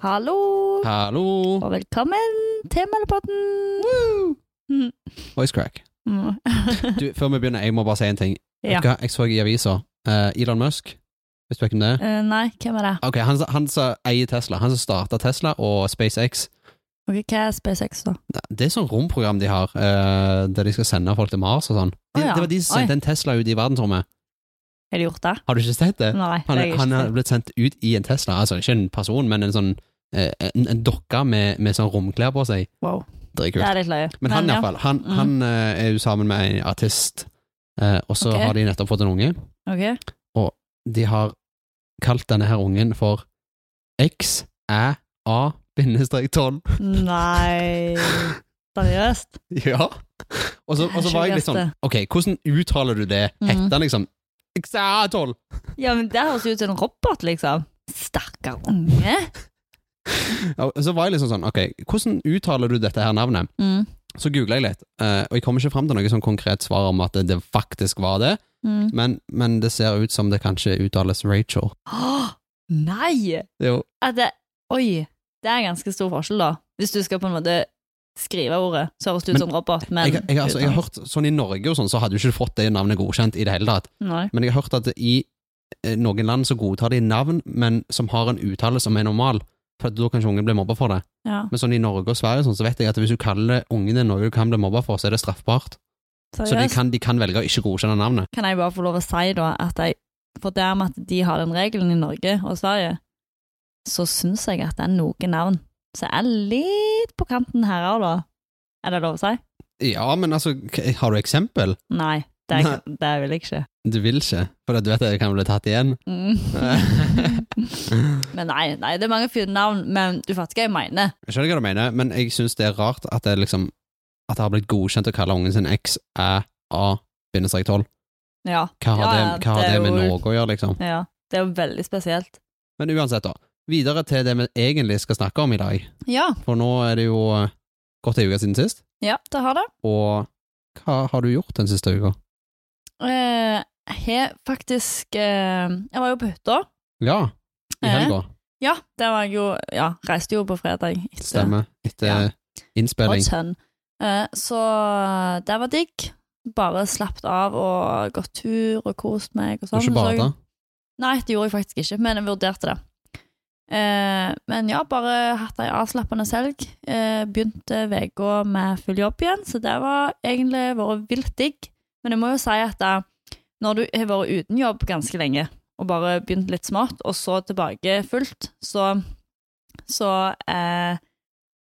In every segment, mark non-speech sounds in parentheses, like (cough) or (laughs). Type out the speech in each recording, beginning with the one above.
Hallo, Hallo! og velkommen til Meldepotten! Mm. Voice crack. Mm. Du, før vi begynner, jeg må bare si en ting. Vet Ja. du hva? Jeg så i avisa eh, Elon Musk. Vet du hvem det er? (laughs) Eh, nei, hvem er det? Ok, Han, som- han som eier Tesla. Han som starta Tesla og SpaceX. Ok, Hva er SpaceX, da? Nei, Det er sånn romprogram de har, eh, der de skal sende folk til Mars og sånn. De, Å ja. Det var de som sendte en Tesla ut i verdensrommet. Har de gjort det? Har du ikke sett det? Mm. Nei, Eh, det har Han, jeg han ikke har blitt sendt ut i en Tesla. Altså ikke en person, men en sånn eh, en, en dokke med, med sånn romklær på seg. sett. Wow. Det er kult. Det er litt løye. Men han, i ja. hvert fall, han, Mm. han eh, er jo sammen med en artist, eh, og så Ok. har de nettopp fått en unge. Ok. De har kalt denne her ungen for XÆA-tonn. Nei Seriøst? (laughs) Ja. Og så, og så var jeg litt sånn, ok, hvordan uttaler du det? Mm. Heter han liksom XÆA-tonn? Ja, men det høres jo ut som en robot, liksom. Stakkar unge. Og så var jeg liksom sånn, ok, hvordan uttaler du dette her navnet? Mm. Så googlet jeg litt, eh, og jeg kommer ikke frem til noe sånn konkret svar om at det, det faktisk var det, Mm. men, men det ser ut som det kanskje uttales Rachel. Åh, nei! Jo, At det, oi, det er ganske stor forskjell, da. Hvis du skal på en måte skrive ordet, så høres det ut Men- som robot, men jeg, jeg, altså, jeg har hørt, sånn I Norge og sånn, så hadde du ikke fått det navnet godkjent i det hele tatt. Nei. Men jeg har hørt at i eh, noen land så godtar de navn, men som har en uttale som er normal. For at da kan ikke ungen bli mobba for det. Ja, Men sånn i Norge og Sverige og sånn, så vet jeg at hvis du kaller ungen din noe du kan bli mobba for, så er det straffbart. Så de seriøst. kan, de kan velge å ikke godkjenne navnet. Kan jeg bare få lov å si da at jeg, for det med at de har den regelen i Norge og Sverige, så syns jeg at det er noen navn som er litt på kanten her og da. Er det lov å si? Ja, men altså, k- har du eksempel? Nei, det, er, det vil jeg ikke. Du vil ikke, for at du vet at det kan bli tatt igjen. Mm. men nei, nei, det er mange fine navn, men du fatter hva jeg mener. Jeg skjønner hva du mener, men jeg syns det er rart at det liksom At det har blitt godkjent å kalle ungen sin X, Æ, A, bindestrek 12. Ja, Hva har, Ja, ja, det, hva har det det, er med jo- Norge å gjøre, liksom? ja. Det er jo veldig spesielt. Men uansett, da. Videre til det vi egentlig skal snakke om i dag. Ja, For nå er det jo eh, gått ei uke siden sist, ja, det har det. og hva har du gjort den siste uka? Eh, Jeg har faktisk eh, Jeg var jo på hytta. Ja, i Eh, helga. Ja, det var jeg jo Ja, reiste jo på fredag. etter- Stemmer. Etter eh, Ja. innspilling. Og tønn. Eh, så det var digg. Bare slappet av og gått tur og kost meg og Du sånn. har ikke Så jeg- bada? Nei, det gjorde jeg faktisk ikke, men jeg vurderte det. Eh, men ja, bare hatt ei avslappende helg. Eh, begynte uka med full jobb igjen, så det var egentlig vært vilt digg. Men jeg må jo si at eh, når du har vært uten jobb ganske lenge, og bare begynt litt smått, og så tilbake fullt, så, så eh,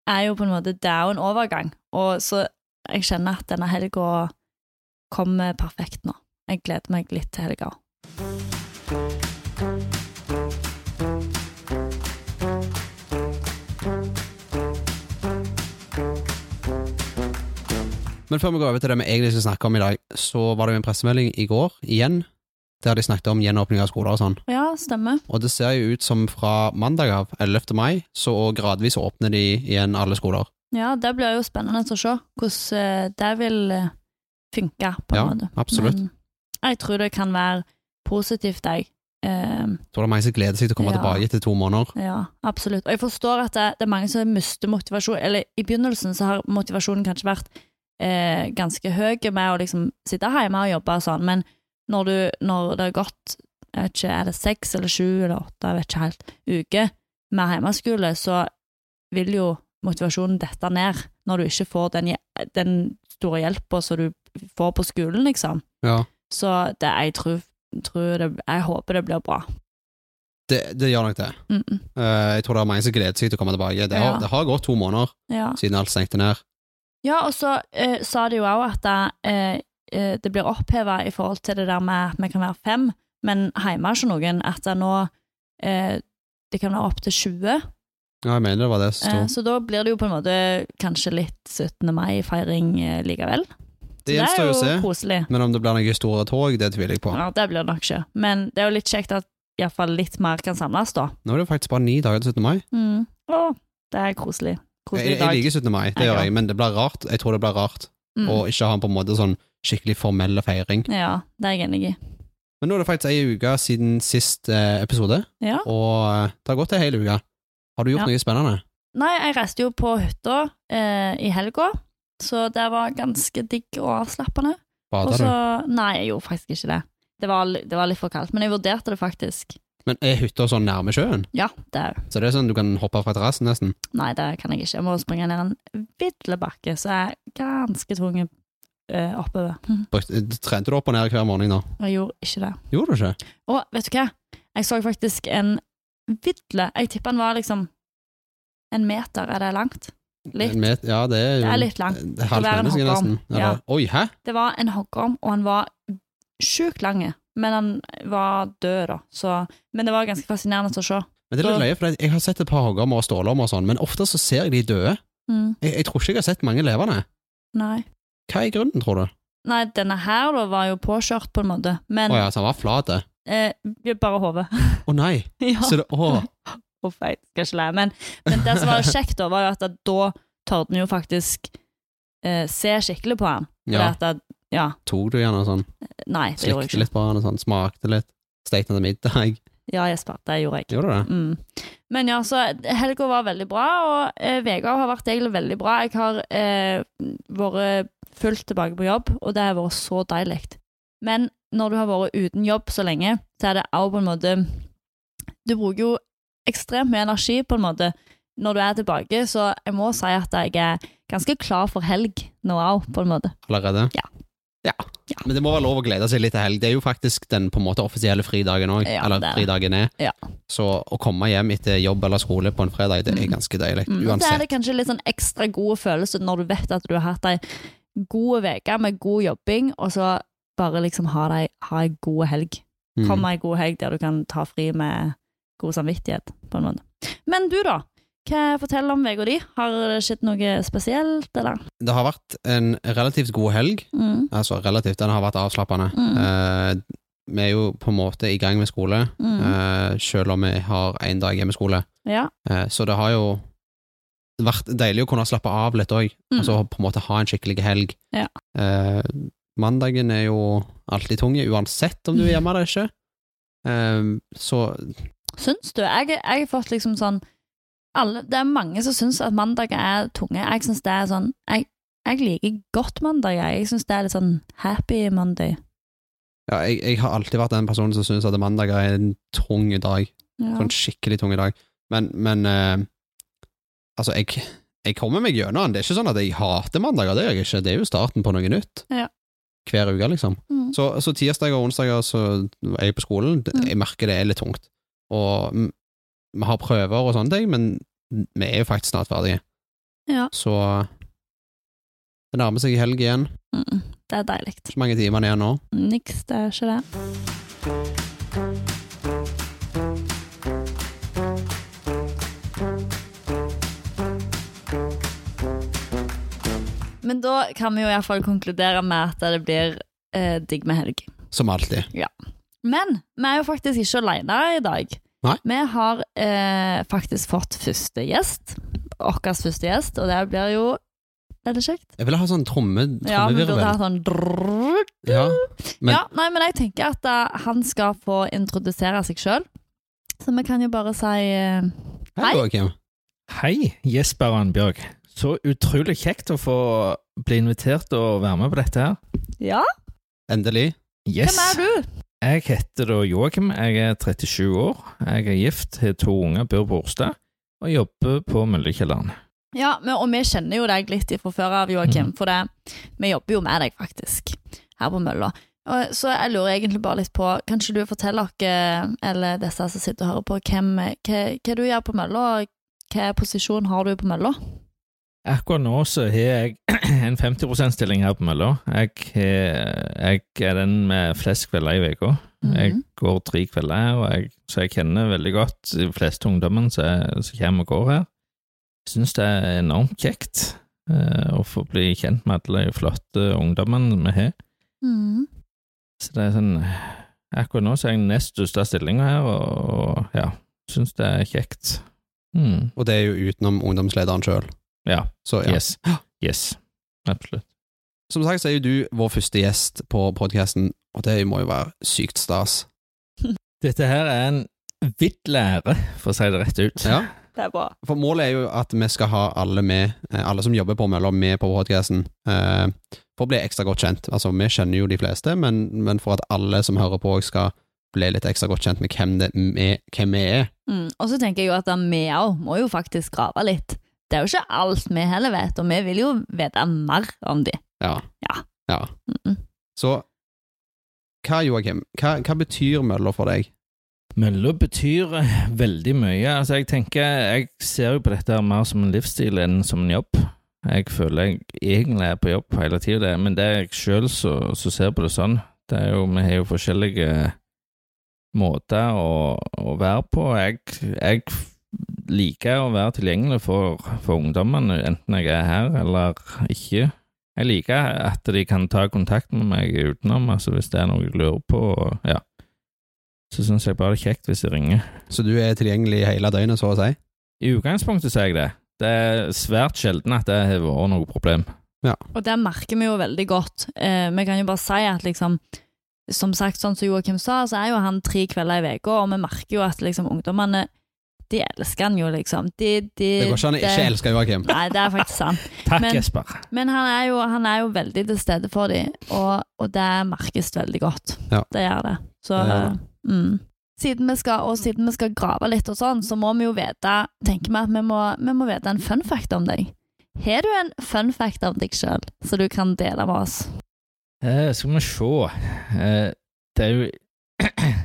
er jo på en måte det er jo en overgang. Og så jeg kjenner at denne helga kommer perfekt nå. Jeg gleder meg litt til helga. Men før vi går over til det vi egentlig skal snakke om i dag, så var det jo en pressemelding i går, igjen, der de snakket om gjenåpning av skoler og sånn. Ja, stemmer. Og det ser jo ut som fra mandag av, 11. mai, så gradvis åpner de igjen alle skoler. Ja, det blir jo spennende å se hvordan eh, det vil eh, funke, på en Ja, måte. absolutt. Men jeg tror det kan være positivt, jeg. Eh, Så det er mange som gleder seg til å komme Ja. tilbake etter to måneder. ja, absolutt. Og jeg forstår at det, det er mange som mister motivasjon, eller i begynnelsen så har motivasjonen kanskje vært eh, ganske høy med å liksom sitte hjemme og jobbe og sånn, men når, du, når det har gått, jeg vet ikke, er det seks eller sju eller åtte, jeg vet ikke helt, uke med hjemmeskole, så vil jo motivasjonen dette ned når du ikke får den, hje- den store hjelpen som du får på skolen, liksom. Ja. Så det, jeg tror, tror det, jeg håper det blir bra. Det, det gjør nok det. Mm -mm. Eh, jeg tror det er mange som gleder seg til å komme tilbake. Det har, Ja. det har gått to måneder Ja. siden alt stengte ned. Ja, og så eh, sa de jo òg at eh, eh, det blir oppheva i forhold til det der med at vi kan være fem, men hjemme er ikke noen. At det nå eh, det kan være opptil 20. Ja, jeg mener det var det som Eh, sto. så da blir det jo på en måte kanskje litt 17. mai-feiring eh, likevel. Så det gjenstår jo å se, koselig. men om det blir noen store tog, det tviler jeg på. Ja, det blir det nok ikke. Men det er jo litt kjekt at iallfall litt mer kan samles, da. Nå er det jo faktisk bare ni dager til 17. mai. Mm. Å, det er koselig. Jeg, Koselig jeg dag. liker 17. mai, det Jeg gjør òg. jeg, men det blir rart. Jeg tror det blir rart Mm. å ikke ha en på en måte sånn skikkelig formell feiring. Ja, det er jeg enig i. Men nå er det faktisk ei uke siden sist eh, episode, Ja. og eh, det har gått ei hel uke. Har du Ja. gjort noe spennende? Nei, jeg reiste jo på hytta eh, i helga, så det var ganske digg og avslappende. Og Bader du? så Nei, jeg gjorde faktisk ikke det. Det var, li- det var litt for kaldt, men jeg vurderte det faktisk. Men er hytta sånn nærme sjøen? Ja, det er Så det er sånn du kan hoppe fra terrassen nesten? Nei, det kan jeg ikke. Jeg må springe ned en vidle bakke, så jeg er ganske tung eh, oppover. Hm, Brukte- eh, Trente du opp og ned hver morgen da? Og jeg gjorde ikke det. Gjorde du ikke? Og vet du hva? Jeg så faktisk en vidle. Jeg tipper den var liksom en meter. Er det langt? Litt. En met- ja, det er jo Det er litt langt. Det er halvt Det er en menneske hoppbaum. nesten. Eller, Ja. Oi, hæ? Det var en hoggorm, og han var sjukt lang, men han var død, da. Så, men det var ganske fascinerende å se. Men det er litt Så- løye, for jeg har sett et par hoggormer og stålormer og sånn, men ofte så ser jeg de døde. Mm, Jeg, jeg tror ikke jeg har sett mange levende. nei. Hva er grunnen, tror du? nei, denne her da var jo påkjørt, på en måte, Å men ja, så han var flat. det. eh, bare hodet. (laughs) Å nei! ja, Så det, å, (laughs) uff, jeg skal ikke le. Men, men det som var kjekt, da, var jo at da torde en jo faktisk eh, se skikkelig på han. For ja, at det- ja, tok du gjerne sånn, nei, det gjorde jeg slikte ikke. litt på han og sånn, smakte litt, stekte han til middag. (laughs) Ja, Jesper, det gjorde jeg. Gjorde du det? Mm. Men ja, så helga var veldig bra, og eh, Vegard har vært egentlig veldig bra. Jeg har eh, vært fullt tilbake på jobb, og det har vært så deilig. Men når du har vært uten jobb så lenge, så er det også på en måte Du bruker jo ekstremt mye energi på en måte når du er tilbake, så jeg må si at jeg er ganske klar for helg nå òg, på en måte. Allerede? Ja. Ja. Ja. Men det må være lov å glede seg litt til helg. Det er jo faktisk den på en måte offisielle fridagen òg, Ja, det eller er det. fridagen er. Ja. Så å komme hjem etter jobb eller skole på en fredag, det er Mm. ganske deilig. Mm. Og så er Uansett. det kanskje litt sånn ekstra god følelse når du vet at du har hatt ei god uke med god jobbing, og så bare liksom ha deg ha ei god helg. Mm. Kom ei god helg der du kan ta fri med god samvittighet, på en måte. Men du, da? Hva forteller om uka di? Har det skjedd noe spesielt, eller? Det har vært en relativt god helg. Mm, Altså relativt, den har vært avslappende. Mm. Eh, vi er jo på en måte i gang med skole, mm. eh, selv om vi har en dag hjemmeskole. Ja. Eh, så det har jo vært deilig å kunne slappe av litt òg, Mm. altså på en måte ha en skikkelig helg. Ja. Eh, mandagen er jo alltid tung, uansett om du er hjemme eller ikke. Eh, så Syns du? Jeg, jeg har fått liksom sånn alle, Det er mange som syns at mandager er tunge. Jeg syns det er sånn Jeg, jeg liker godt mandager. Jeg syns det er litt sånn happy Monday. ja, jeg, jeg har alltid vært den personen som syns at mandag er en tung dag. Ja. Sånn skikkelig tung dag. Men, men eh, Altså, jeg, jeg kommer meg gjennom den. Det er ikke sånn at jeg hater mandager, det gjør jeg ikke. Det er jo starten på noe nytt. Ja. Hver uke, liksom. Mm. Så, så tirsdager og onsdager så er jeg på skolen. Det- Mm. Jeg merker det er litt tungt. Og mm, vi har prøver og sånne ting, men vi er jo faktisk snart ferdige. Ja. Så det nærmer seg helg igjen. Mm. Det er deilig. Ikke mange timene igjen nå. Niks, det er ikke det. Men da kan vi jo iallfall konkludere med at det blir eh, digg med helg. Som alltid. Men vi er jo faktisk ikke alene i dag. Nei. Vi har eh, faktisk fått første gjest. Vår første gjest, og det blir jo Er det kjekt? Jeg ville ha sånn tromme, Ja, vi trommevirvel. burde ha Mm, sånn drrrr, Ja. Men- ja, nei, men jeg tenker at eh, han skal få introdusere seg sjøl. Så vi kan jo bare si eh, Hei, Hei. Joakim. Hei, Jesper Annbjørg. Så utrolig kjekt å få bli invitert og være med på dette her. ja, Endelig. Yes. hvem er du? Jeg heter da Joakim, jeg er 37 år. Jeg er gift, har to unger, bor på Orstad og jobber på Møllekjelleren. Ja, men, og vi kjenner jo deg litt fra før av, Joakim, for det, vi jobber jo med deg faktisk her på mølla. Og, så jeg lurer egentlig bare litt på, kan ikke du fortelle dere, eller disse som sitter og hører på, hvem, hva, hva du gjør på mølla, og hva posisjon har du på mølla? Akkurat nå så har jeg (clears throat) en 50 %-stilling her på Mølla. Jeg, har- jeg er den med flest kvelder i uka. Jeg Mhm. går tre kvelder, og jeg, så jeg kjenner veldig godt de fleste ungdommene som som kommer og går her. Syns det er enormt kjekt eh, å få bli kjent med alle de flotte ungdommene vi har. Mhm. Så det er sånn Akkurat nå så er jeg den nest største stillinga her, og, og ja, syns det er kjekt. Mm, Og det er jo utenom ungdomslederen sjøl. ja, Så ja. Yes. Yes. Absolutt. Som sagt så er jo du vår første gjest på podkasten, og det må jo være sykt stas. Dette her er en vill ære, for å si det rett ut. Ja. Det er bra. For målet er jo at vi skal ha alle med, eh, alle som jobber på mølla, med på podcasten, eh, for å bli ekstra godt kjent. Altså, vi kjenner jo de fleste, men, men for at alle som hører på, skal bli litt ekstra godt kjent med hvem, det, med, hvem vi er. Mm. Og så tenker jeg jo at vi òg må jo faktisk grave litt. Det er jo ikke alt vi heller vet, og vi vil jo vite mer om de. Ja. Ja. Ja. Mm. Så hva, Joakim, hva, hva betyr mølla for deg? Mølla betyr eh, veldig mye. Altså, jeg tenker, jeg ser jo på dette her mer som en livsstil enn som en jobb. Jeg føler jeg egentlig er på jobb hele tida, men det er jeg sjøl som ser på det sånn. Det er jo, vi har jo forskjellige måter å, å være på. Jeg, jeg liker å være tilgjengelig for, for ungdommene, enten jeg er her eller ikke. Jeg liker at de kan ta kontakt med meg utenom, altså hvis det er noe jeg lurer på. og- Ja så syns jeg bare det er kjekt hvis de ringer. Så du er tilgjengelig hele døgnet, så å si? I utgangspunktet sier jeg det. Det er svært sjelden at det har vært noe problem. Og det merker vi jo veldig godt. Eh, vi kan jo bare si at liksom Som sagt, sånn som Joakim sa, så er jo han tre kvelder i uka, og vi merker jo at liksom ungdommene De elsker han jo, liksom. De, de, Det går ikke an å ikke elske Joakim. Nei, Eh, det er faktisk sant. Takk, Men- Jesper. Men han er jo, han er jo veldig til stede for dem, og, og det merkes veldig godt. Ja. Det gjør det. Så, Det gjør det. Mm. Siden vi skal, og siden vi skal grave litt og sånn, så må vi jo vite tenker vi at vi må, vi må vite en fun fact om deg. Har du en fun fact om deg sjøl, så du kan dele med oss? Eh, skal vi se. Eh, det er jo (clears throat)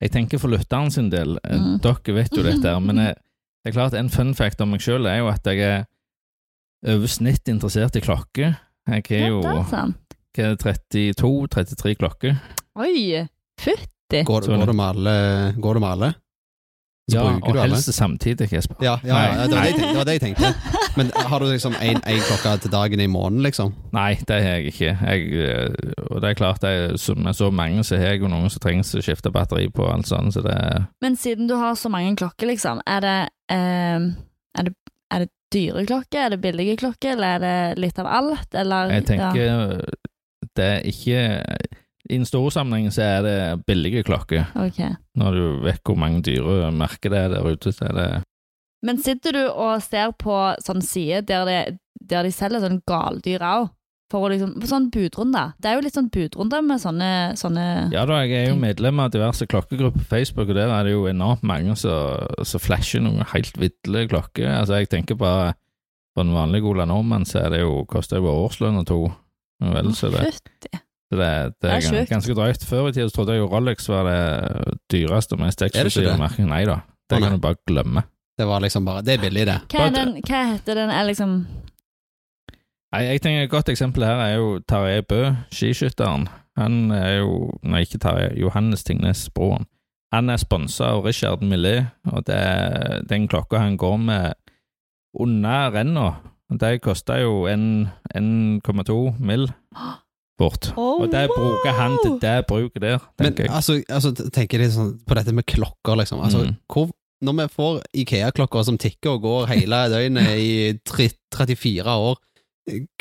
Jeg tenker for lytteren sin del, eh, Mm. dere vet jo dette, her, (laughs) men eh, det er klart en fun fact om meg sjøl er jo at jeg er over snitt interessert i klokker. Jeg er jo Ja, det er sant. hva er det, 32-33 klokker. Oi! Fytti! (laughs) Går, Sånn. går, det med alle, går det med alle? Så Ja, bruker og du alle? helst samtidig, Jesper. Ja, ja, ja det, var det, jeg Nei. tenkte, det var det jeg (laughs) tenkte. Men har du liksom én klokke til dagen i måneden, liksom? Nei, det har jeg ikke. Jeg, eh, og det er klart, det er, som med så mange så har jeg jo noen som trengs å skifte batteri på, og alt sånt, så det er Men siden du har så mange klokker, liksom, er det, eh, er det, er det dyre klokker, er det billige klokker, eller er det litt av alt, eller Jeg tenker ja. det er ikke I en stor sammenheng så er det billige klokker. Ok. Når du vet hvor mange dyre merker det er der ute, så er det Men sitter du og ser på sånn side der, det, der de selger sånn galdyr òg? For å liksom, på sånn budrunder. Det er jo litt sånn budrunder med sånne, sånne Ja da, jeg er jo medlem av diverse klokkegrupper på Facebook, og der er det jo enormt mange som som flasher noen helt ville klokker. Altså, jeg tenker bare for en vanlig Ola Nordmann så er det jo, koster det jo årslønn og to. Og Vel, så det, Fytti. Så det, det er, Det er gan- sjukt. ganske drøyt. Før i tida så trodde jeg jo Rolex var det dyreste og mest ikke eksklusive det? merket. Nei da, Å, det nei. kan du bare glemme. Det var liksom bare Det er billig, det. Hva, er Bare- den, hva heter den? Er liksom Nei, jeg tenker Et godt eksempel her er jo Tarjei Bø, skiskytteren. Han er jo Nei, ikke Tarjei. Johannes Tingnes Broen. Han er sponsa av Richard Millet, og det er den klokka han går med under renna. De koster jo en- 1,2 mill. bort. oh, Og det bruker han til det. det bruket der, Men tenker jeg. altså, altså tenker litt sånn på dette med klokker, liksom. Altså, Mm. hvor, når vi får Ikea-klokker som tikker og går hele døgnet i tre, 34 år,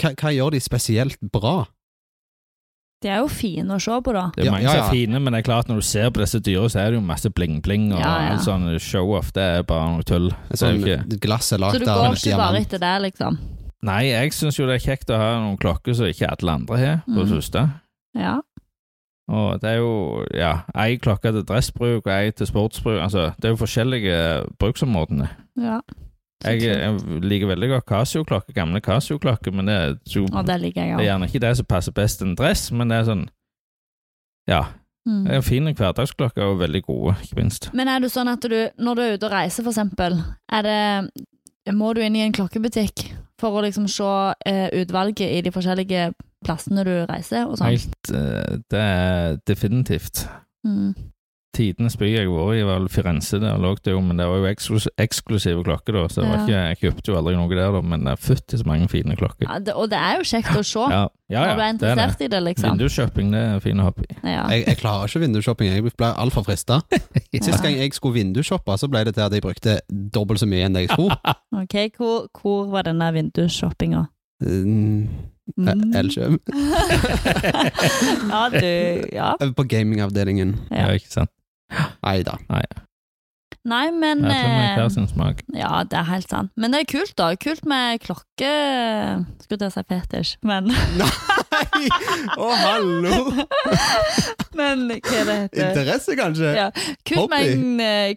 hva, hva gjør de spesielt bra? De er jo fine å se på, da. Det er Ja, mange ja, som ja. er fine, men det er klart når du ser på disse dyra, så er det jo masse bling-bling og Ja, ja. alt sånn show-off. Det er bare noe tull. Et Det er jo Sånn glass er Så lagd du av går en ikke bare diamant. etter det, liksom. Nei, jeg syns jo det er kjekt å ha noen klokker som ikke alle andre har, Mhm. på det første. Ja. Og det er jo ja, ei klokke til dressbruk og ei til sportsbruk. Altså, det er jo forskjellige bruksområdene. ja. Så Jeg, eh, kult. jeg liker veldig godt Casio-klokker, gamle Casio-klokker, men det er jo Og det Mm. liker det jeg er òg. gjerne ikke det som passer best en dress, men det er sånn Ja. Det er fine hverdagsklokker og veldig gode, ikke minst. Mm. Men er det sånn at du, når du er ute og reiser for eksempel, er det, må du inn i en klokkebutikk for å liksom se eh, utvalget i de forskjellige plassene du reiser og sånn? Helt eh, Det er definitivt. Mm. Tidenes by jeg har vært i, var Firenze. Der lå det jo, men det var jo eksklus eksklusive klokker, da, så det var ikke, jeg kjøpte jo aldri noe der, da, men det er fytti så mange fine klokker. Ja, det, og det er jo kjekt å se Ja, ja, når du ja er det er det. interessert i det, liksom. Vindusshopping, det er fine hobby. Ja. Jeg, jeg klarer ikke vindusshopping, jeg blir altfor frista. Sist gang jeg skulle vindusshoppe, så ble det til at jeg brukte dobbelt så mye enn det (laughs) jeg skulle. Ok, hvor, hvor var denne vindusshoppinga? Mm, Mm. Elkjøp. (laughs) ja, du, ja. På gamingavdelingen. Ja. Ja, ikke sant. Nei da. Nei. Nei, men Alle sånn med hver eh, sin smak. Ja, det er helt sant. Men det er kult, da. Kult med klokke Skulle til å si fetisj, men, (laughs) Nei! Å, hallo! men hva det heter Interesse, kanskje? Ja. Kult med Hobby. en eh,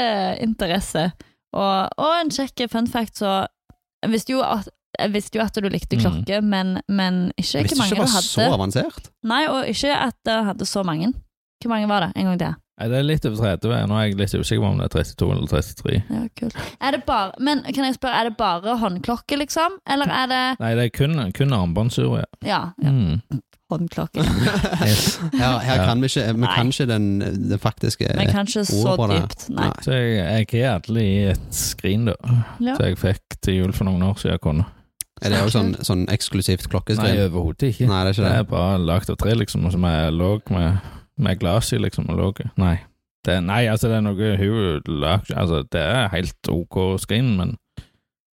klokkeinteresse. Og, og en kjekk fun fact, så Jeg visste jo at jeg visste jo at du likte Mm. klokke, men, men ikke hvor Visste mange ikke det du var så hadde. avansert. Nei, og ikke at jeg hadde så mange. Hvor mange var det? En gang til. Nei, det er litt over 30. Nå er jeg litt usikker på om det er 32 eller 33. Ja, kult. Er det bare, men kan jeg spørre, er det bare håndklokke, liksom? Eller er det Nei, det er kun, kun armbåndsur, ja. Ja, ja Mm. (laughs) håndklokke. Yes. Her, her Ja. kan vi ikke, vi Nei. kan ikke den, den faktiske Men kanskje så ord på det. dypt. Nei. Så jeg, jeg er alle i et skrin, da. Ja. Så jeg fikk til jul for noen år siden jeg kunne. Er det jo sånn, sånn eksklusivt Nei, klokkeskrin? overhodet ikke. Nei, det er ikke Det det. er bare lagd av tre, liksom, og som er låg med, med glass i, liksom, og låg Nei. Det, nei, altså, det er noe hun lagde Altså, det er helt ok skrin, men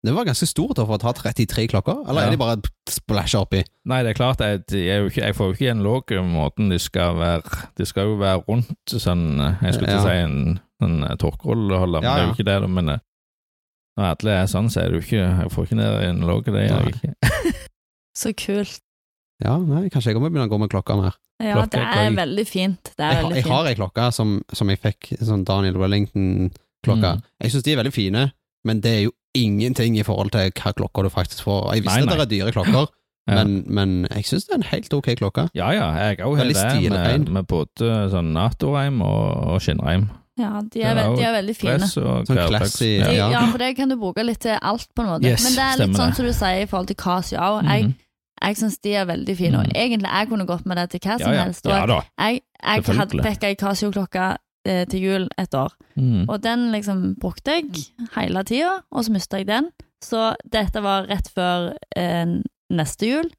Det var ganske stort da, for å ta 33 klokker, eller Ja. er de bare splæsja oppi? Nei, det er klart, jeg, jeg, er jo ikke, jeg får jo ikke igjen låg eh, måten de skal være De skal jo være rundt sånn Jeg skulle Ja. til å si en, en tørkerolleholder, Ja, men ja. det er jo ikke det, da, men eh, når alle er sånn, så er det jo ikke Jeg får ikke ned i en låg, det gjør jeg ikke. (laughs) Så kult. Ja, nei, kanskje jeg må begynne å gå med klokka mer. Ja, Klokke, det er klokke. veldig fint. Det er Jeg, har- veldig jeg har fint. ei klokke som, som jeg fikk, sånn Daniel Wellington-klokka. Mm. Jeg syns de er veldig fine, men det er jo ingenting i forhold til hva klokka du faktisk får. Jeg visste Nei, nei. at det er dyre klokker, Ja. men, men jeg syns det er en helt ok klokke. Ja ja, jeg òg har Veldig det, med, stilrein. med både sånn Nato-reim og, og skinnreim. Ja, de Det er, er veld- jo de er veldig fine. Dress og Sånn hverdags- classy, De, ja. ja, for det kan du bruke litt til alt, på en måte. Yes, Men det er litt stemmer sånn det. som du sier i forhold til Casio òg. Jeg, Mhm. jeg syns de er veldig fine, og Mm. egentlig jeg kunne gått med det til hva som ja, ja. altså, helst. Ja Og da. jeg jeg hadde Selvfølgelig. fikk ei Casio-klokke eh, til jul et år, Mm. og den liksom brukte jeg hele tida, og så mista jeg den. Så dette var rett før eh, neste jul.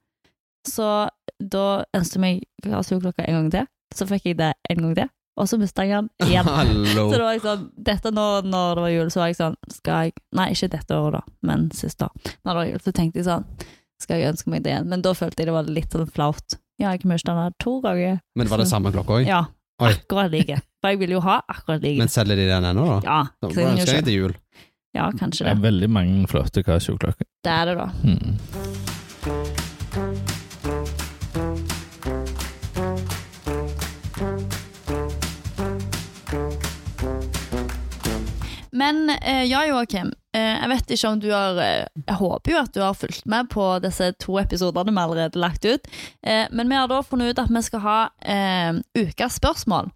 Så da ønsket jeg meg Casio-klokka en gang til. Så fikk jeg det en gang til, og så mista jeg den igjen. (laughs) Hallo! Så da var jeg sånn, dette nå, når det var jul, så var jeg sånn skal jeg, Nei, ikke dette året, da, men siste år. Når det var jul, så tenkte jeg sånn Skal jeg ønske meg det igjen? Men da følte jeg det var litt sånn flaut. Ja, jeg mista den her to ganger. Men var det samme klokka òg? Ja, Oi. akkurat like. For jeg ville jo ha akkurat like. Men selger de den ennå, da? Ja, Da så jeg må jeg kan jo ønske jeg kjøpe- til jul. ja, kanskje Det det. er veldig mange flotte Casio-klokker. Det er det, da. Mm. Men eh, ja, Joakim. Eh, jeg vet ikke om du har eh, Jeg håper jo at du har fulgt med på disse to episodene vi allerede har lagt ut. Eh, men vi har da funnet ut at vi skal ha eh, ukas spørsmål.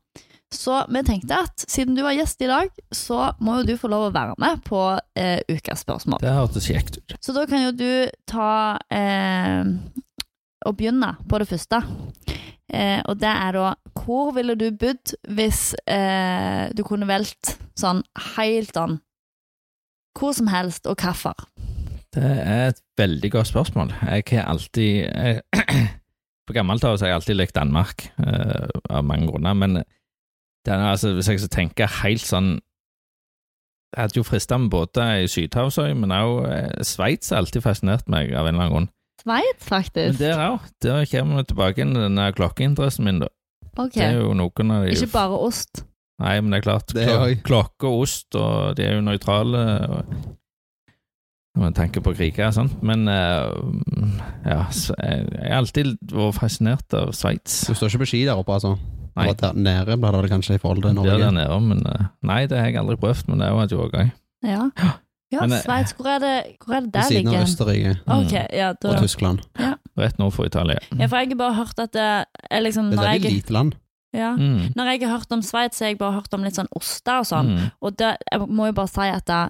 Så vi tenkte at siden du var gjest i dag, så må jo du få lov å være med på eh, ukas spørsmål. Det hørtes kjekt ut. Så da kan jo du ta eh, og begynne på det første. Eh, og det er da Hvor ville du bodd hvis eh, du kunne valgt sånn helt sånn Hvor som helst og hvorfor? Det er et veldig godt spørsmål. Jeg har alltid jeg, (clears throat) På gammelt av så har jeg alltid likt Danmark, eh, av mange grunner, men det er, altså, hvis jeg skal tenke helt sånn Jeg hadde jo frista med båter i Sydhavsøy, men også eh, Sveits har alltid fascinert meg av en eller annen grunn. Sveits, Men faktisk. der òg. Der kommer vi tilbake til denne klokkeinteressen min, da. Ok. Det er jo noen av de Ikke bare ost. Nei, men det er klart. Det er klok- jeg. klokke og ost, og de er jo nøytrale. og- Når man tenker på kriger og sånt. Men eh, ja, så jeg jeg har alltid vært fascinert av Sveits. Du står ikke på ski der oppe, altså? Nei. Bare Der nede blir det vel kanskje i forhold til Det er Norge? der nede, men eh, Nei, det har jeg aldri prøvd, men det er jo et jordgang. Ja, ja Men, eh, Sveits. Hvor er det hvor er det Ved der siden av ligger? Østerrike Ok, ja, da, og Tyskland. Mm. Rett nord for Italia. ja, for jeg har bare hørt at det er liksom Det er når et veldig jeg, lite land. ja, Mm. når jeg har hørt om Sveits, så har jeg bare hørt om litt sånn oster og sånn. Mm. Og det, jeg må jo bare si at da,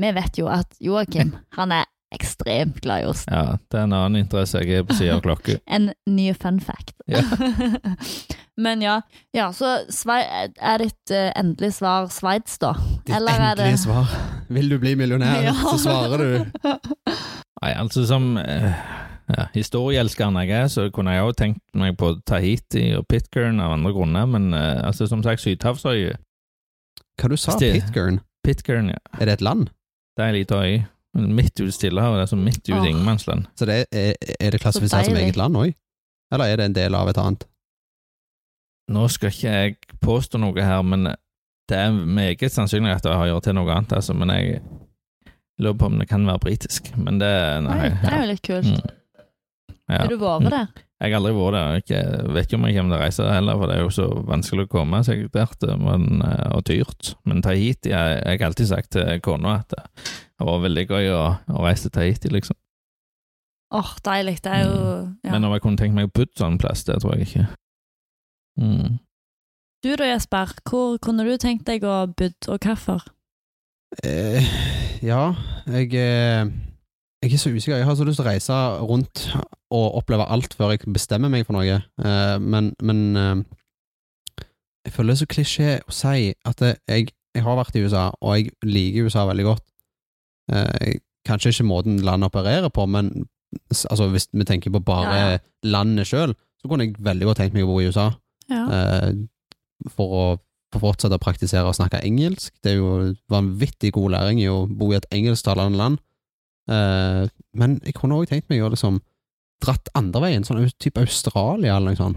vi vet jo at (laughs) Joakim, han er ekstremt glad i ost. Ja, det er en annen interesse jeg er på siden av (laughs) klokke. En ny fun fact. Ja. (laughs) Men ja, ja så Svei- er ditt eh, endelige svar Sveits, da? Ditt Eller er det- endelige svar. Vil du bli millionær, (laughs) Ja. så svarer du Nei, altså som eh, ja, historieelskeren jeg er, så kunne jeg òg tenkt meg på Tahiti og Pitcairn av andre grunner, men eh, altså som sagt, Sydhavsøya Hva du sa Stil. Pitcairn? Pitcairn, ja. Er det et land? Det er ei lita øy. Midt ute i Stillehavet. Det er som midt ute Åh. i ingenmannsland. Så det er, er det klassifisert som deilig. eget land òg? Eller er det en del av et annet? Nå skal ikke jeg påstå noe her, men Det er meget sannsynlig at det har gjort til noe annet, altså, men jeg lurer på om det kan være britisk. Men det Nei. Oi, det er jo litt kult. Mm. Ja. Har du Mm. vært der? Jeg har aldri vært der. og Jeg vet ikke om jeg kommer til å reise der heller, for det er jo så vanskelig å komme seg dit, men, eh, og dyrt. Men Tahiti jeg, jeg har alltid sagt til kona at det har vært veldig gøy å, å reise til Tahiti, liksom. Åh, deilig. Det er jo Mm. ja. Men om jeg kunne tenkt meg å bo sånn plass, det tror jeg ikke. Mm. Du da, Jesper, hvor kunne du tenkt deg å bo, og hvorfor? Eh, ja, jeg, eh, jeg er så usikker. Jeg har så lyst til å reise rundt og oppleve alt før jeg bestemmer meg for noe, eh, men, men eh, jeg føler det er så klisjé å si at det- jeg, jeg har vært i USA, og jeg liker USA veldig godt. Eh, jeg- kanskje ikke måten landet opererer på, men s- altså, hvis vi tenker på bare Ja, ja. landet sjøl, så kunne jeg veldig godt tenkt meg å bo i USA Ja. eh, for å få fortsette å praktisere og snakke engelsk. Det er jo vanvittig god læring i å bo i et engelsktalende land. Eh, men jeg kunne òg tenkt meg å liksom dratt andre veien, sånn au- type Australia eller noe sånt.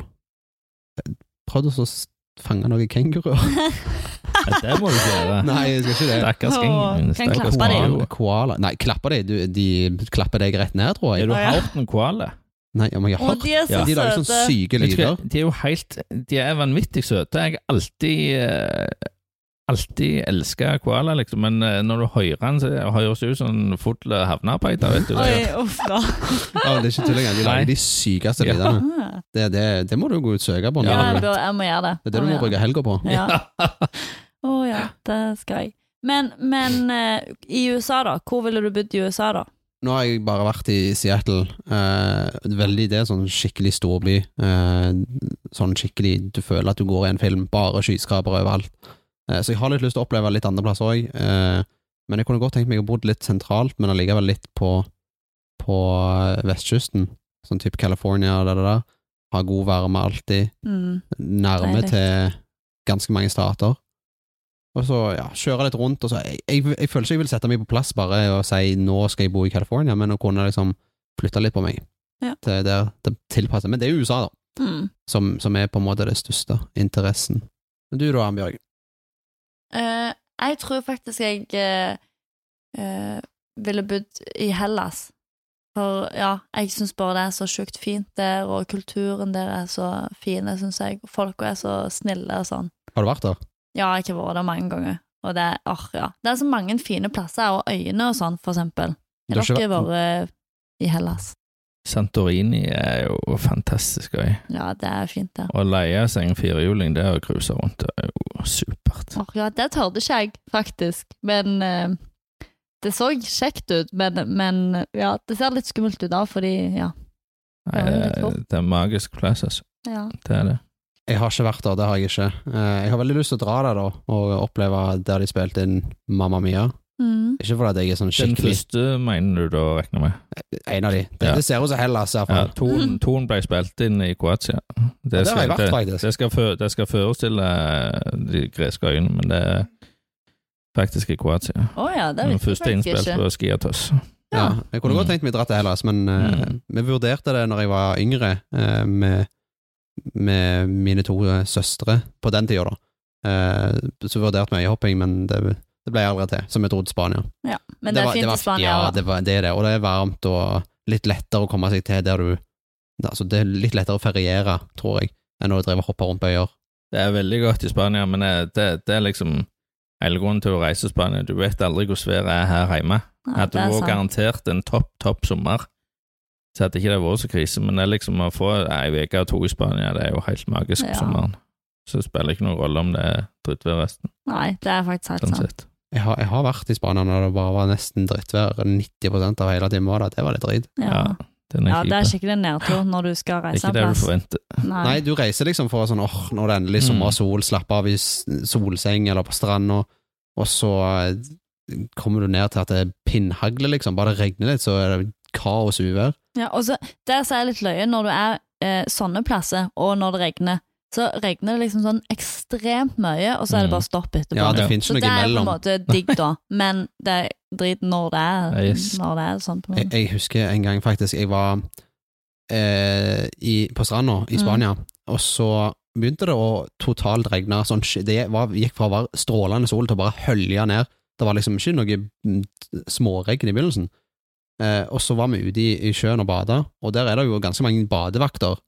Eh, Prøvd å så s- fange noen kenguruer. (laughs) Ja, det må du ikke gjøre. Nei, jeg skal ikke det. Stakkars Åh, kan gjengen. Stakkars klappe deg. koala. Koala. koala. Nei, klapper de, du, de klapper deg rett ned, tror Er jeg. du Å, ja. hørt en koala? Nei, om jeg har Og hørt de er så De lager sånn søte. sånne syke Jeg tror- lyder. De er jo helt De er vanvittig søte. Jeg har alltid eh, Alltid elska koala, liksom, men eh, når du hører han, så høres det ut som en full havnearbeider, vet du. Oi, uff da. Ja, men det er ikke tull engang. De Nei. lager de sykeste Ja. lydene. Ah. Det, det, det må du gå ut og søke Ja, på. når jeg, du- bør, jeg må gjøre det. Det er det du må bruke helga på. Å ja. (laughs) Å ja, det skal jeg. Men, men eh, i USA, da? Hvor ville du bodd i USA, da? Nå har jeg bare vært i Seattle. Eh, veldig Det er sånn skikkelig storby. Eh, sånn skikkelig Du føler at du går i en film. Bare skyskrapere overalt. Eh, så jeg har litt lyst til å oppleve litt andre plasser òg. Eh, men jeg kunne godt tenkt meg å bo litt sentralt, men allikevel litt på, på eh, vestkysten. Sånn type California og det der. Ha god varme alltid. Mm. nærme Deilig. til ganske mange stater. Og så ja, kjøre litt rundt. Og så, jeg, jeg, jeg føler ikke jeg vil sette meg på plass bare og si nå skal jeg bo i California, men å kunne liksom flytte litt på meg Ja. til der det tilpasser. Men det er jo USA, da, Mm. som, som er på en måte det største interessen. Men du da, Ambjørg? Eh, jeg tror faktisk jeg eh, eh, ville bodd i Hellas. For ja, jeg syns bare det er så sjukt fint der, og kulturen der er så fin, syns jeg. Og Folka er så snille og sånn. Har du vært der? Ja, jeg har vært der mange ganger. Og det, er- åh, ja. det er så mange fine plasser, og øyene og sånn, for eksempel. Du Har har ikke dere vært i Hellas? Santorini er jo fantastisk gøy. Ja, det er fint, det. Å leie seg en firehjuling der og cruise rundt, det er jo supert. Åh, ja, det tørde ikke jeg, faktisk. Men eh, det så kjekt ut, men, men ja, det ser litt skummelt ut da, fordi ja. Nei, Ja, det er det, er- Eh, det er en magisk plass, altså. ja. Det er det. Jeg har ikke vært der, det har jeg ikke. Eh, Jeg har veldig lyst til å dra der da, og oppleve der de spilte inn Mamma Mia. Mm. Ikke fordi at jeg er sånn Den skikkelig første mener du da regner med? en av de. Det, Ja. det ser ut som Hellas, i hvert Ja, fall. Toen, toen ble spilt inn i Kroatia. Det der har jeg skal- vært, faktisk. Det skal, fø- det skal forestille de greske øyene, men det er faktisk i Kroatia. Å ja, det Den visste jeg første faktisk innspilt ikke. på Skiatos. Ja. Ja. Jeg kunne godt Mm. tenkt meg å dra til Hellas, men eh, Mm. vi vurderte det når jeg var yngre, eh, med, med mine to eh, søstre på den tida, da. Eh, så vurderte vi øyehopping, men det, det ble jeg aldri til, som jeg dro til Spania. Men det, var- er fint var- i Spania Ja, òg. det, var, det er det, og det er varmt og litt lettere å komme seg til der du Altså, det er litt lettere å feriere, tror jeg, enn å drive og hoppe rundt på øyer. Det er veldig godt i Spania, men eh, det, det er liksom hele grunnen til å reise til Spania. Du vet aldri hvordan været er her hjemme. Hadde det vært garantert en topp, topp sommer, så hadde ikke det vært så krise. Men det er liksom å få ei uke og to i Spania, det er jo helt magisk Ja. på sommeren. Så det spiller ikke noen rolle om det er drittvær resten, Nei, det er faktisk helt sånn sant. sett. Jeg har, jeg har vært i Spania når det bare var nesten drittvær 90 av hele timen. var det. Det var litt dritt. Ja. den ja, er det er kjip. skikkelig en nedtur når du skal Det er reise ikke en det du plass. forventer. Nei, du reiser liksom for å sånn åh, nå er det endelig Mm. sommer og sol, slapp av i s- solseng eller på stranda, og så eh, kommer du ned til at det pinnhagler, liksom. Bare det regner litt, så er det kaos uvær. Ja, og så, det som er litt løye, når du er eh, sånne plasser, og når det regner, så regner det liksom sånn ekstremt mye, og så er det bare stopp etterpå. Ja, det finnes så det ikke noe er på en imellom. måte digg, da, men det er drit når det er, Ja, yes. når det er sånn. på en Jeg, måte. jeg husker en gang faktisk, jeg var eh, i, på stranda i Mm. Spania, og så begynte det å totalt regne. Sånn, sk- det var, gikk fra å være strålende sol til å bare hølje ned. Det var liksom ikke noe mm, småregn i begynnelsen. Eh, og så var vi ute i, i sjøen og bada, og der er det jo ganske mange badevakter.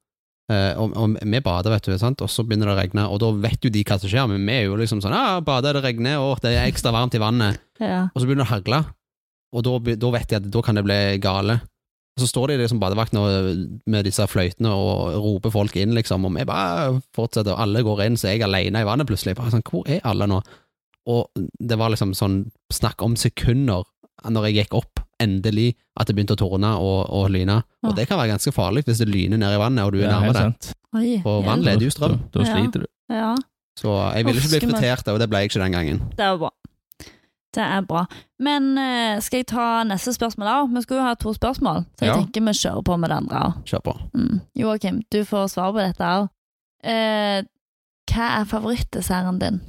Eh, og, og vi bader, vet du, sant? og så begynner det å regne, og da vet jo de hva som skjer, men vi er jo liksom sånn ah, 'Bader, det regner, og det er ekstra varmt i vannet'. Ja. Og så begynner det å hagle, og da, be- da vet de at da kan det bli gale. Og så står de liksom badevaktene og- med disse fløytene og roper folk inn, liksom, og vi bare fortsetter, og alle går inn, så er jeg alene i vannet plutselig. Bare sånn, hvor er alle nå? Og det var liksom sånn snakk om sekunder når jeg gikk opp, endelig, at det begynte å torne og, og lyne. Og det kan være ganske farlig hvis det lyner ned i vannet, og du er Ja, nærme helt det. sant. Oi, Og hjelp. vann leder jo strøm. Da, da Ja. sliter du. Ja, Så jeg ville ikke bli Uff, skummelt. fritert, og det ble jeg ikke den gangen. det er bra. Det er bra. Men eh, skal jeg ta neste spørsmål òg? Vi skulle jo ha to spørsmål, så jeg Ja. tenker vi kjører på med det andre òg. Kjør på. Mm. Joakim, du får svar på dette òg. Eh, hva er favorittdesserten din?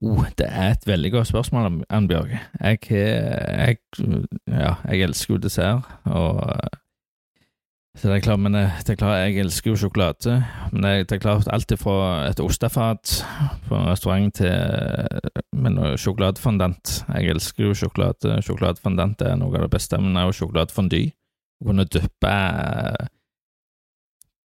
Oh, det er et veldig godt spørsmål, Annbjørg. Jeg, jeg, ja, jeg elsker jo dessert, og så det er klart, men det det er klart, jeg elsker jo sjokolade, men det det er klart alt er fra et ostefat på en restaurant til men også sjokoladefondant. Jeg elsker jo sjokolade. Sjokoladefondant er noe av det beste, men også sjokoladefondy. Å kunne dyppe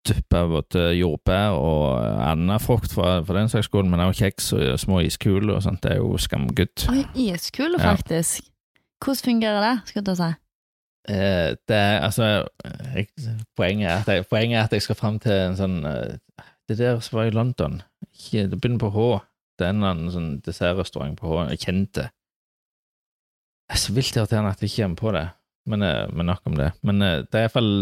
dyppe både jordbær og annen frukt for, for den saks skyld, men også kjeks og små iskuler og sånt. Det er jo skamgodt. Oi, iskule, Ja. faktisk. Hvordan fungerer det, skulle jeg til å si? Eh, det er, altså, jeg, poenget, er at jeg, poenget er at jeg skal fram til en sånn eh, Det der som var i London, ikke, det begynner på H. Det er en eller annen sånn dessertrestaurant på H, jeg kjente. Det er så vilt irriterende at jeg ikke kommer på det, men, eh, men nok om det. Men eh, det er iallfall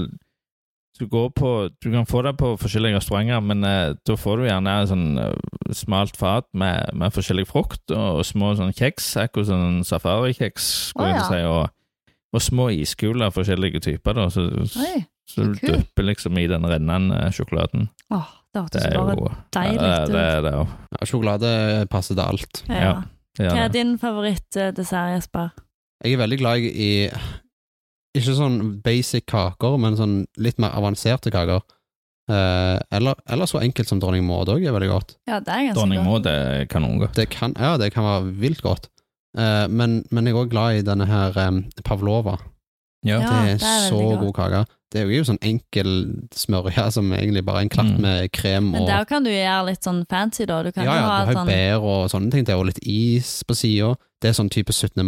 du, går på, du kan få det på forskjellige restauranter, men eh, da får du gjerne et sånn eh, smalt fat med, med forskjellig frukt og små sånn kjeks, akkurat sånn safarikjeks, Å, skulle jeg til å si. og og små iskuler av forskjellige typer, da, så, Oi. så du så kult. dypper liksom i den rennende sjokoladen. Åh, det Det hørtes er bare jo deilig Ja, det, det ut. er det òg. Ja, Sjokolade passer til alt. Ja. ja. Det Hva er er det. din favorittdessert, Jesper? Jeg er veldig glad i ikke sånn basic kaker, men sånn litt mer avanserte kaker. Eh, eller, eller så enkelt som dronning Maud òg er veldig godt. Ja, det er ganske Dronning godt. Maud er kanongodt. Det kan, ja, det kan være vilt godt. Eh, men, men jeg er òg glad i denne her em, pavlova. Ja, det er, Ah, det er veldig så godt. god kake. Det er jo sånn enkel smørje som egentlig bare er en klatt Mm. med krem Men og der kan du gjøre litt sånn fancy, da. Du kan ja, jo ja, ha du har jo sånn bær og sånne ting. Det er jo litt is på sida. Det er sånn type 17. Og hvis du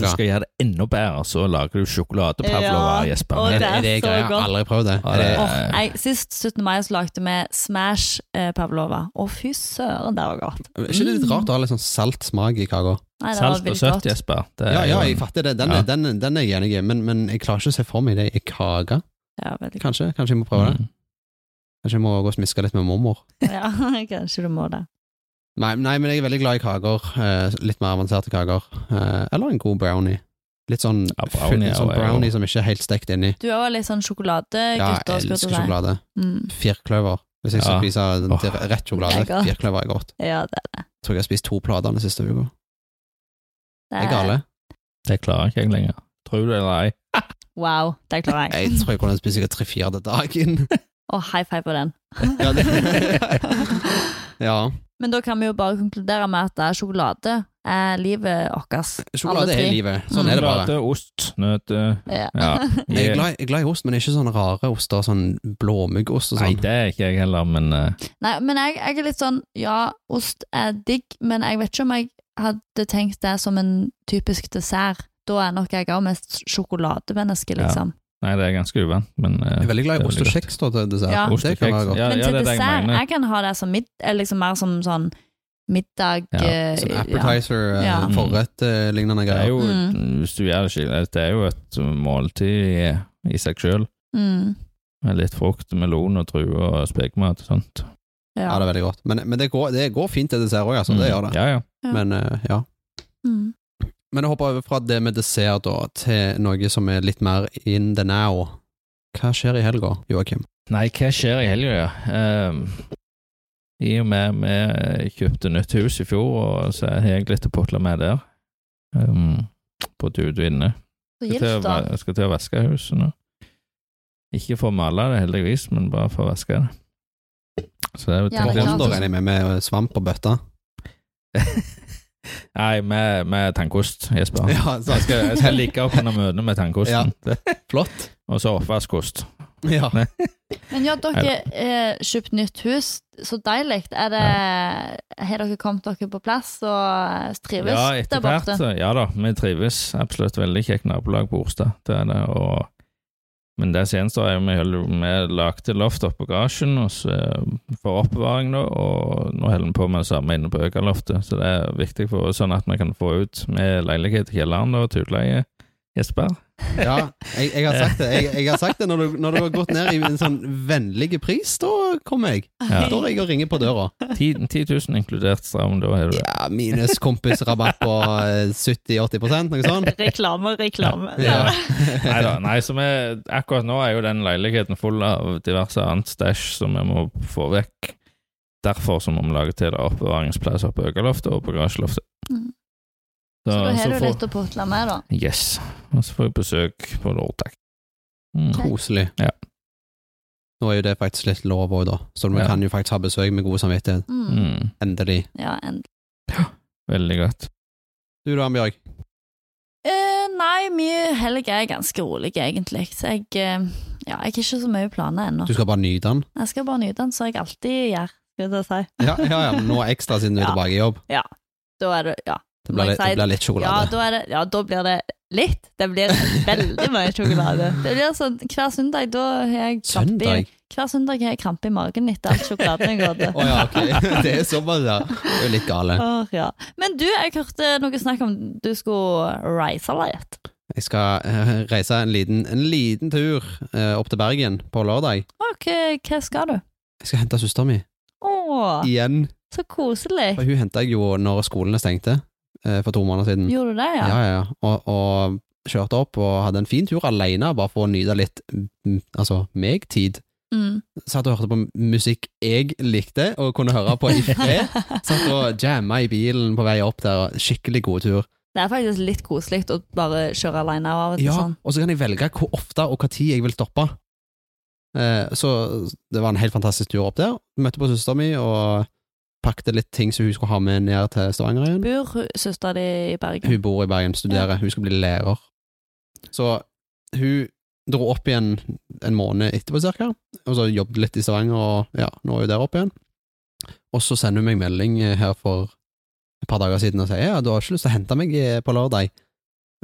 mai-kake. skal gjøre det enda bedre, så lager du sjokoladepavlova, Ja, Jesper. og Er, det det- er er det så greier? Jeg godt. har aldri prøvd det. Ja, Er det det- Åh, nei, Sist 17. mai så lagde vi Smash eh, Pavlova. Å, fy søren, det var godt. Er ikke det litt rart å ha litt sånn salt smak i kaka? Nei, det Salt var og veldig søtt, godt. Jesper. Det er Ja, ja, jo en- jeg fatter det. Den, Ja. er- den, den er jeg enig i, men, men jeg klarer ikke å se for meg det i kake. Ja, veldig godt. Kanskje Kanskje jeg må prøve det? Mm. Kanskje jeg må gå og smiske litt med mormor? Ja, (laughs) kanskje du må det. Nei, nei, men jeg er veldig glad i kaker. eh, litt mer avanserte kaker. Eh, eller en god brownie. Litt sånn Ja, brownie brownie, er sånn jo- er jo- brownie som ikke er helt stekt inni. Du er òg litt sånn Ja, sjokoladegutter, jeg skulle elsker jeg til å si. sjokolade. Mm. Firkløver. Hvis jeg skal Ja. spise den Åh. til rett sjokolade, Lekker. firkløver er godt. Ja, det, Tror jeg har spist to plater den siste uka. det Jeg er gale. Det klarer ikke jeg lenger. Tror du det eller ei? Wow, det klarer jeg. Jeg tror jeg kunne spist sikkert tre-fire til dagen. (laughs) Og high five på den. Ja, (laughs) ja. Men da kan vi jo bare konkludere med at det er sjokolade er livet vårt. Sjokolade Alle er tre. Mm. livet. Sånn er det bare. Sjokolade, ost, nøtter Ja. (laughs) Ja. Jeg er, glad, jeg er glad i ost, men ikke sånne rare oster, sånn blåmuggost og Nei, sånn. det er ikke jeg heller, men eh, Nei, men jeg, jeg er litt sånn Ja, ost er digg, men jeg vet ikke om jeg hadde tenkt det som en typisk dessert. Da er nok jeg òg mest sjokolademenneske, Ja. liksom. Nei, det er ganske uvant, men eh, Jeg er veldig glad i det er ost og veldig kjeks da, til dessert. Ja. Ost og det kan kjeks. være godt. Ja, men til ja, det er det jeg dessert, mener. jeg, kan ha det som mid, eh, liksom mer som sånn middag Ja, eh, Sånn ja. appetizer, eh, Ja. forrett, eh, lignende Det er greier. jo, Mm. hvis du gjør det skikkelig, det er jo et måltid i, i seg selv, Mm, med litt frukt, melon og druer og spekemat og sånt. Ja, ja. det er veldig godt. Men, men det, går, det går fint til dessert òg, altså. Det Mm. gjør det. Ja, ja. Ja. Men eh, ja. Mm. Men jeg hopper over fra det med dessert da, til noe som er litt mer in the now. Hva skjer i helga, Joakim? Nei, hva skjer i helga, ja? Ehm, I og med vi kjøpte nytt hus i fjor, og så har jeg litt å putle med der. Ehm, på Dude og inne. Så Skal til, å, gildt, da. va- skal til å vaske huset nå. Ikke for å male det, heldigvis, men bare for å vaske det. Så det, er jo- Ja, det På er klart. Honda regner jeg med med svamp og bøtter. Nei, med, med tankost, Jesper. Ja, så Jeg skal, jeg skal ligge opp under møtene med tankosten. (laughs) Flott. Og så oppvaskost. Ja. Men ja, dere eh, kjøpt nytt hus, så deilig. Er det, har dere kommet dere på plass og eh, trives Ja, der etter hvert. borte? så- Ja da, vi trives. Absolutt veldig kjekt nabolag på Orstad. Det er det. Og, men det som gjenstår, er jo vi holder- vi lagde loft oppå garasjen og så- eh, for oppbevaring, da, og nå holder vi på med det samme inne på Økaloftet. Så det er viktig for oss, sånn at vi kan få ut med leilighet i kjelleren da, og til utleie. Jesper? ja jeg, jeg har sagt det. Jeg, jeg har sagt det når du, når du har gått ned i en sånn vennlig pris, da kommer jeg. Da Ja. står jeg og ringer på døra. 10, 000 inkludert stram, da har du det. Ja, minus kompisrabatt på eh, 70-80 noe sånt. (laughs) Reklame, reklame. Ja. Nei da. Nei, så vi, akkurat nå er jo den leiligheten full av diverse annet stæsj som vi må få vekk. Derfor så må vi lage til det oppbevaringsplass oppe på Økaloftet og på garasjeloftet. Mm. Så da har du litt å putle med, da. Yes. Og så får jeg besøk på lørdag. Mm. Koselig. Ja. Nå er jo det faktisk litt lov òg, da, så vi Ja. kan jo faktisk ha besøk med god samvittighet. Mm. Mm. Endelig. Ja, endelig. Veldig godt. Du da, Bjørg. Eh, nei, min helg er ganske rolig, egentlig. Så jeg, eh, ja, jeg har ikke så mye planer ennå. Du skal bare nyte den? Jeg skal bare nyte den, som jeg alltid gjør. Skal jeg si. Ja, ja, ja men nå ekstra siden du er Ja. tilbake i jobb. Da er det, ja. Det blir litt, det blir litt Ja, sjokolade. da, er det, ja, da blir det litt. Det blir veldig mye sjokolade. Det blir sånn, Hver søndag da har jeg krampe i, Søndag? hver søndag har jeg krampe i magen etter all sjokoladen jeg har (laughs) Å hatt. ja, ok. Det er såpass, ja. Det er jo litt gale. Åh, ja. Men du, jeg hørte noe snakk om du skulle reise litt. Jeg skal eh, reise en liten, en liten tur eh, opp til Bergen på lørdag. Ok, hva skal du? Jeg skal hente søsteren min Åh, igjen. så koselig. For hun henta jeg jo når skolene stengte eh, for to måneder siden. Gjorde du det, Ja, ja, ja. Og, og kjørte opp og hadde en fin tur alene, bare for å nyte litt mm, altså, meg-tid. Mm. Satt og hørte på musikk jeg likte, og kunne høre (laughs) på i fred. Satt og jamma i bilen på vei opp der, og skikkelig god tur. Det er faktisk litt koselig å bare kjøre alene av og til Ja, sånn. og så kan jeg velge hvor ofte og hva tid jeg vil stoppe. Eh, så det var en helt fantastisk tur opp der. Møtte på søsteren min og pakket litt ting som hun skulle ha med ned til Stavanger igjen. Bor hu- søstera di i Bergen? Hun bor i Bergen, studerer, hun skal bli lærer. Så hun dro opp igjen en måned etterpå, cirka, og så jobbet litt i Stavanger, og ja, nå er hun der oppe igjen. Og så sender hun meg melding eh, her for et par dager siden og sier ja, du har ikke lyst til å hente meg eh, på lørdag,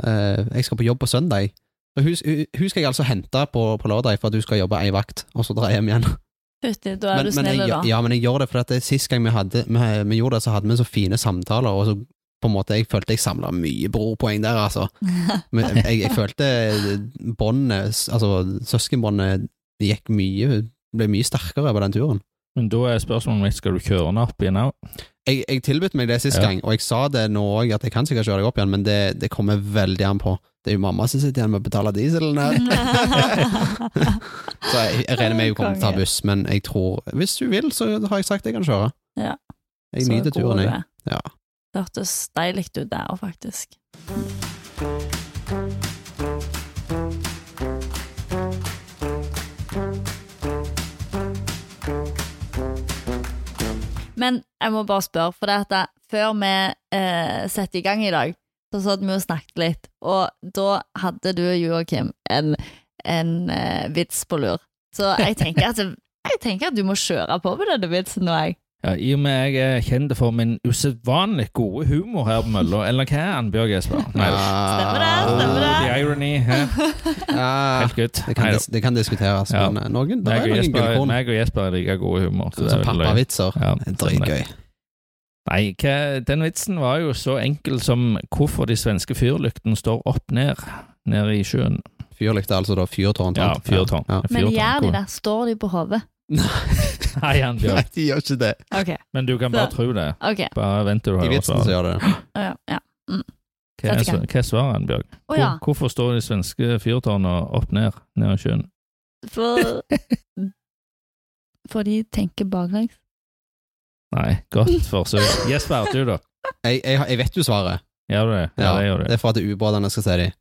Eh, jeg skal på jobb på søndag. Så hun, hun, hun skal jeg altså hente på, på lørdag for at hun skal jobbe ei vakt, og så dra hjem igjen. Fytti, da er Men- du men snill, jeg, da. Ja, men jeg gjør det, for at det, sist gang vi, hadde, vi, vi gjorde det, så hadde vi så fine samtaler, og så på en måte, jeg følte jeg samla mye brorpoeng der, altså. Men jeg, jeg følte båndet, s- altså søskenbåndet, gikk mye, ble mye sterkere på den turen. Men da er spørsmålet mitt skal du kjøre den opp igjen òg. Jeg, jeg tilbød meg det sist Ja. gang, og jeg sa det nå òg, at jeg kan sikkert kjøre deg opp igjen, men det, det kommer veldig an på. Det er jo mamma som sitter igjen med å betale dieselen (laughs) her. (laughs) Så jeg, jeg regner med hun kommer til å ta Konge. buss, men jeg tror Hvis hun vil, så har jeg sagt jeg kan kjøre. Ja. Jeg Så nyter god turen, du jeg. er. Ja. Det hørtes deilig ut der òg, faktisk. Men jeg må bare spørre, for det at jeg- før vi eh, setter i gang i dag, så satt vi og snakket litt, og da hadde du, Joakim, en, en eh, vits på lur. Så jeg tenker, at, jeg tenker at du må kjøre på med denne vitsen nå, jeg. Ja, I og med jeg er kjent for min usedvanlig gode humor her på mølla, eller hva er den, Bjørg Jesper? Nei. Stemmer det, stemmer det. The irony. hæ? (laughs) Ja, Helt good. det, kan Nei da. dis det kan diskuteres, Ja. men eh, noen, det er Meg og noen Jesper- gullkorn. meg og Jesper er like god i humor. så det Sånn er vel løye. pappavitser. Ja, Det er sånn det. Dritgøy. Nei, hva, den vitsen var jo så enkel som hvorfor de svenske fyrlyktene står opp ned nede i sjøen. Fyrlykte, altså da. Fyrtårn. Ja, sant? fyrtårn. (laughs) Ja. Men Fyrtårn. gjør de det? Står de på hodet? Nei, han Nei, gjør de gjør ikke det. Ok. Men du kan bare tro det. ok. Bare vent til du I hører vitsen så svaret. gjør det det. Å ja, ja. Hva er Sett i gang. sv- hva er svaret, Ann Bjørg? Å ja, Hvor, hvorfor står de svenske fyrtårnene opp ned nede i sjøen? for (laughs) For de tenker baklengs. Nei, godt (laughs) forsøk. Jesper, du da? Jeg, jeg, har- jeg vet jo svaret. Gjør du det? Ja, Ja, det gjør du. Det er for at det er ubåtene skal se dem.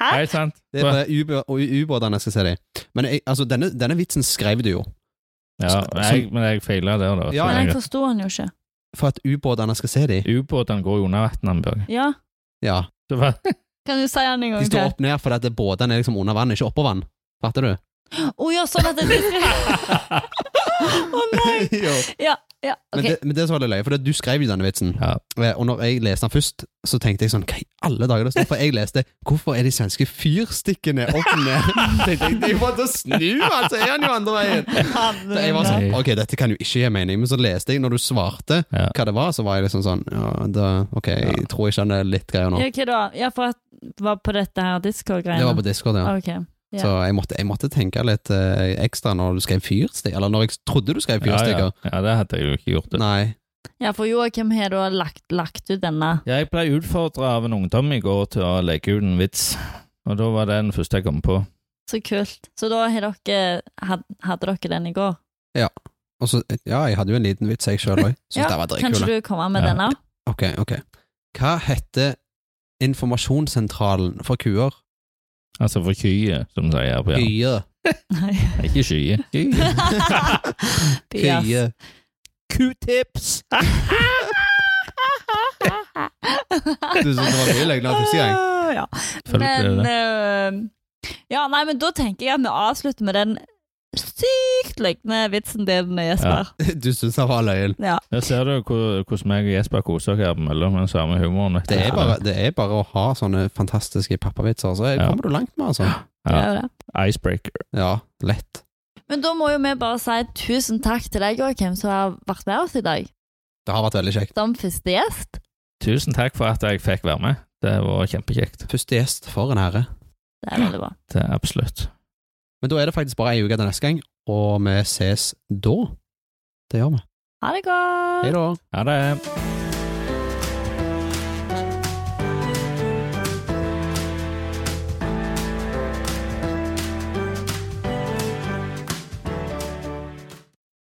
Hæ? Helt sant. Det er for at ubå- og ubåtene skal se dem. Men jeg, altså, denne, denne vitsen skrev du jo. Ja, jeg, men jeg feila der, da. så Ja, Men jeg jeg- forsto han jo ikke. For at ubåtene skal se dem. Ubåtene går jo under vann, Ambjørg. Ja, Ja. Det var kan du si han en De gang står til? opp ned fordi at båtene er liksom under vann, ikke oppå vann. Fatter du? Å ja, sånn at det (laughs) Å nei! (laughs) jo. Ja, ja, Men, ok. det, men det som var litt løye, for det, du skrev jo denne vitsen. Ja. Eh, Og når jeg leste den først, så tenkte jeg sånn Hva i alle dager det står? For jeg leste 'Hvorfor er de svenske fyrstikkene opp ned?' (laughs) tenkte jeg, De får til å snu, altså! Er han jo andre (laughs) veien? Så jeg var sånn, ok, dette kan jo ikke gi mening, men så leste jeg, når du svarte Ja. hva det var, så var jeg liksom sånn ja, da, Ok, jeg tror ikke han er litt greier nå. Ja, hva da? Ja, for at var på dette her Det var Discord-greiene? på Discord, ja. Ok. ja. Så jeg måtte, jeg måtte tenke litt eh, ekstra når du skrev fyrstikker, eller når jeg trodde du skrev ja, ja. fyrstikker. ja, det hadde jeg jo ikke gjort. Det. Nei. Ja, for Joakim har da lagt, lagt ut denne. Jeg ble utfordra av en ungdom i går til å leke ut en vits, og da var det den første jeg kom på. Så kult. Så da har dere, had, hadde dere den i går? Og så, ja, jeg hadde jo en liten vits, jeg sjøl òg. Syns Ja, det var dritkul. Kanskje du kommer med Ja. denne? (laughs) Ok, ok. Hva heter informasjonssentralen for kuer? Altså for kye, som de sier her på Jæren. Kye. Nei. Ikke skye. (laughs) Kye. Bias. Kye. Q-tips! Du syntes det var mye løgner første gang? Ah, Ja. Selvfølgelig Men det. eh, Ja, nei, men da tenker jeg at vi avslutter med den sykt lignende vitsen din, Jesper. (laughs) Du syns det var løgn. Ja. Der ser du hvor- hvordan meg og Jesper koser oss her mellom den samme humoren. vet du. Det er, bare, det er bare å ha sånne fantastiske pappavitser, så Ja. kommer du langt med, altså. Det Ja. er jo det. Icebreaker. Ja, lett. Men da må jo vi bare si tusen takk til deg, Joakim, som har vært med oss i dag. Det har vært veldig kjekt. Som første gjest. Tusen takk for at jeg fikk være med. Det var kjempekjekt. Første gjest, for en ære. Det er veldig bra. Det er absolutt. Men da er det faktisk bare ei uke til neste gang, og vi ses da. Det gjør vi. Ha det godt! Hei da. Ha det.